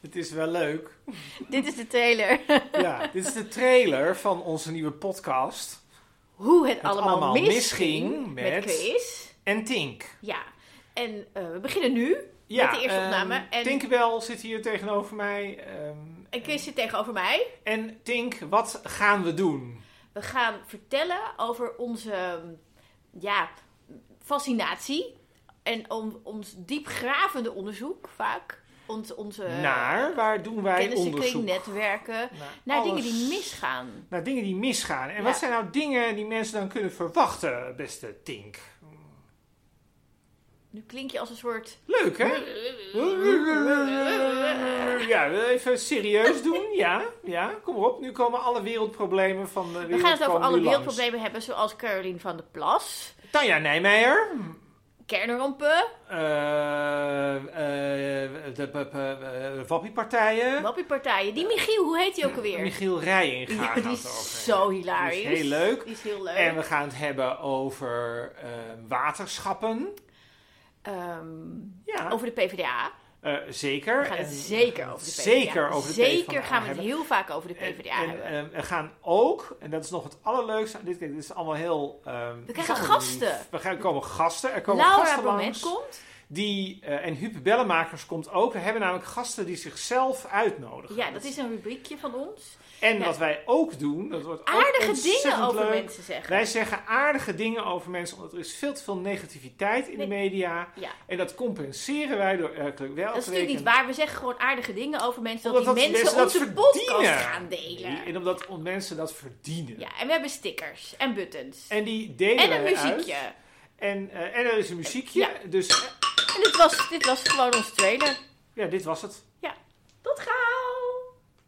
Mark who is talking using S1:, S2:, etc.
S1: het is wel leuk.
S2: Dit is de trailer.
S1: Ja, dit is de trailer van onze nieuwe podcast.
S2: Hoe het, allemaal,
S1: allemaal
S2: misging,
S1: misging
S2: met...
S1: met-
S2: Chris.
S1: En Tink.
S2: Ja. En eh, we beginnen nu
S1: Ja,
S2: met de eerste
S1: ehm,
S2: opname. En,
S1: Tinkerbell zit hier tegenover mij. ehm,
S2: en Chris zit tegenover mij.
S1: en Tink, wat gaan we doen?
S2: We gaan vertellen over onze ehm, ja, fascinatie. En om, ons diepgravende onderzoek vaak. Ons, onze
S1: Naar, waar doen wij
S2: kennissenkring,
S1: onderzoek?
S2: netwerken.
S1: Naar,
S2: Naar
S1: alles.
S2: dingen die misgaan.
S1: Naar dingen die misgaan. En
S2: Ja.
S1: wat zijn nou dingen die mensen dan kunnen verwachten, beste Tink?
S2: Nu klink je als een soort...
S1: Leuk, hè? Ja, wil je even serieus doen. Ja, ja, kom op. Nu komen alle wereldproblemen van de wereld
S2: We gaan het over
S1: komen
S2: alle
S1: nu langs.
S2: wereldproblemen hebben, zoals Caroline van der Plas,
S1: Tanja Nijmeijer.
S2: kernrampen,
S1: eh, eh, de de- de- de Wappiepartijen.
S2: wappiepartijen. Die Michiel, hoe heet die ook alweer?
S1: Michiel Rijenga
S2: Ja,
S1: gaat
S2: die
S1: het over.
S2: is zo hilarisch.
S1: Die is heel leuk.
S2: Die is heel leuk.
S1: En we gaan het hebben over eh, waterschappen.
S2: Ehm,
S1: Ja,
S2: over de PvdA.
S1: eh, zeker.
S2: We gaan het
S1: En-
S2: zeker over de PvdA.
S1: Zeker over de
S2: Zeker
S1: PvdA
S2: gaan we het
S1: hebben.
S2: heel vaak over de PvdA
S1: En,
S2: hebben.
S1: ehm, we gaan ook, en dat is nog het allerleukste aan dit, kijk, dit is allemaal heel... ehm,
S2: We krijgen
S1: bijzonder
S2: gasten.
S1: lief. We gaan, komen gasten. Er komen
S2: Laura
S1: gasten
S2: Bromet
S1: langs.
S2: komt.
S1: Die, eh, en Huub Bellemakers komt ook. We hebben namelijk gasten die zichzelf uitnodigen.
S2: Ja, dat is een rubriekje van ons.
S1: En
S2: ja.
S1: wat wij ook doen, dat wordt ook
S2: Aardige dingen
S1: ontzettend
S2: over
S1: leuk.
S2: mensen zeggen.
S1: Wij zeggen aardige dingen over mensen, omdat er is veel te veel negativiteit in
S2: Nee.
S1: de media.
S2: Ja.
S1: En dat compenseren wij door elke wel
S2: Dat is natuurlijk niet waar. We zeggen gewoon aardige dingen over mensen. Dat
S1: Omdat
S2: die
S1: dat
S2: mensen
S1: mensen
S2: onze
S1: dat
S2: podcast
S1: verdienen.
S2: gaan delen.
S1: En omdat on- mensen dat verdienen.
S2: Ja, en we hebben stickers en buttons.
S1: En die delen
S2: En een
S1: wij
S2: muziekje.
S1: uit. En, eh, en er is een muziekje.
S2: Ja.
S1: Dus eh,
S2: En dit was, dit was gewoon onze trailer.
S1: ja, dit was het.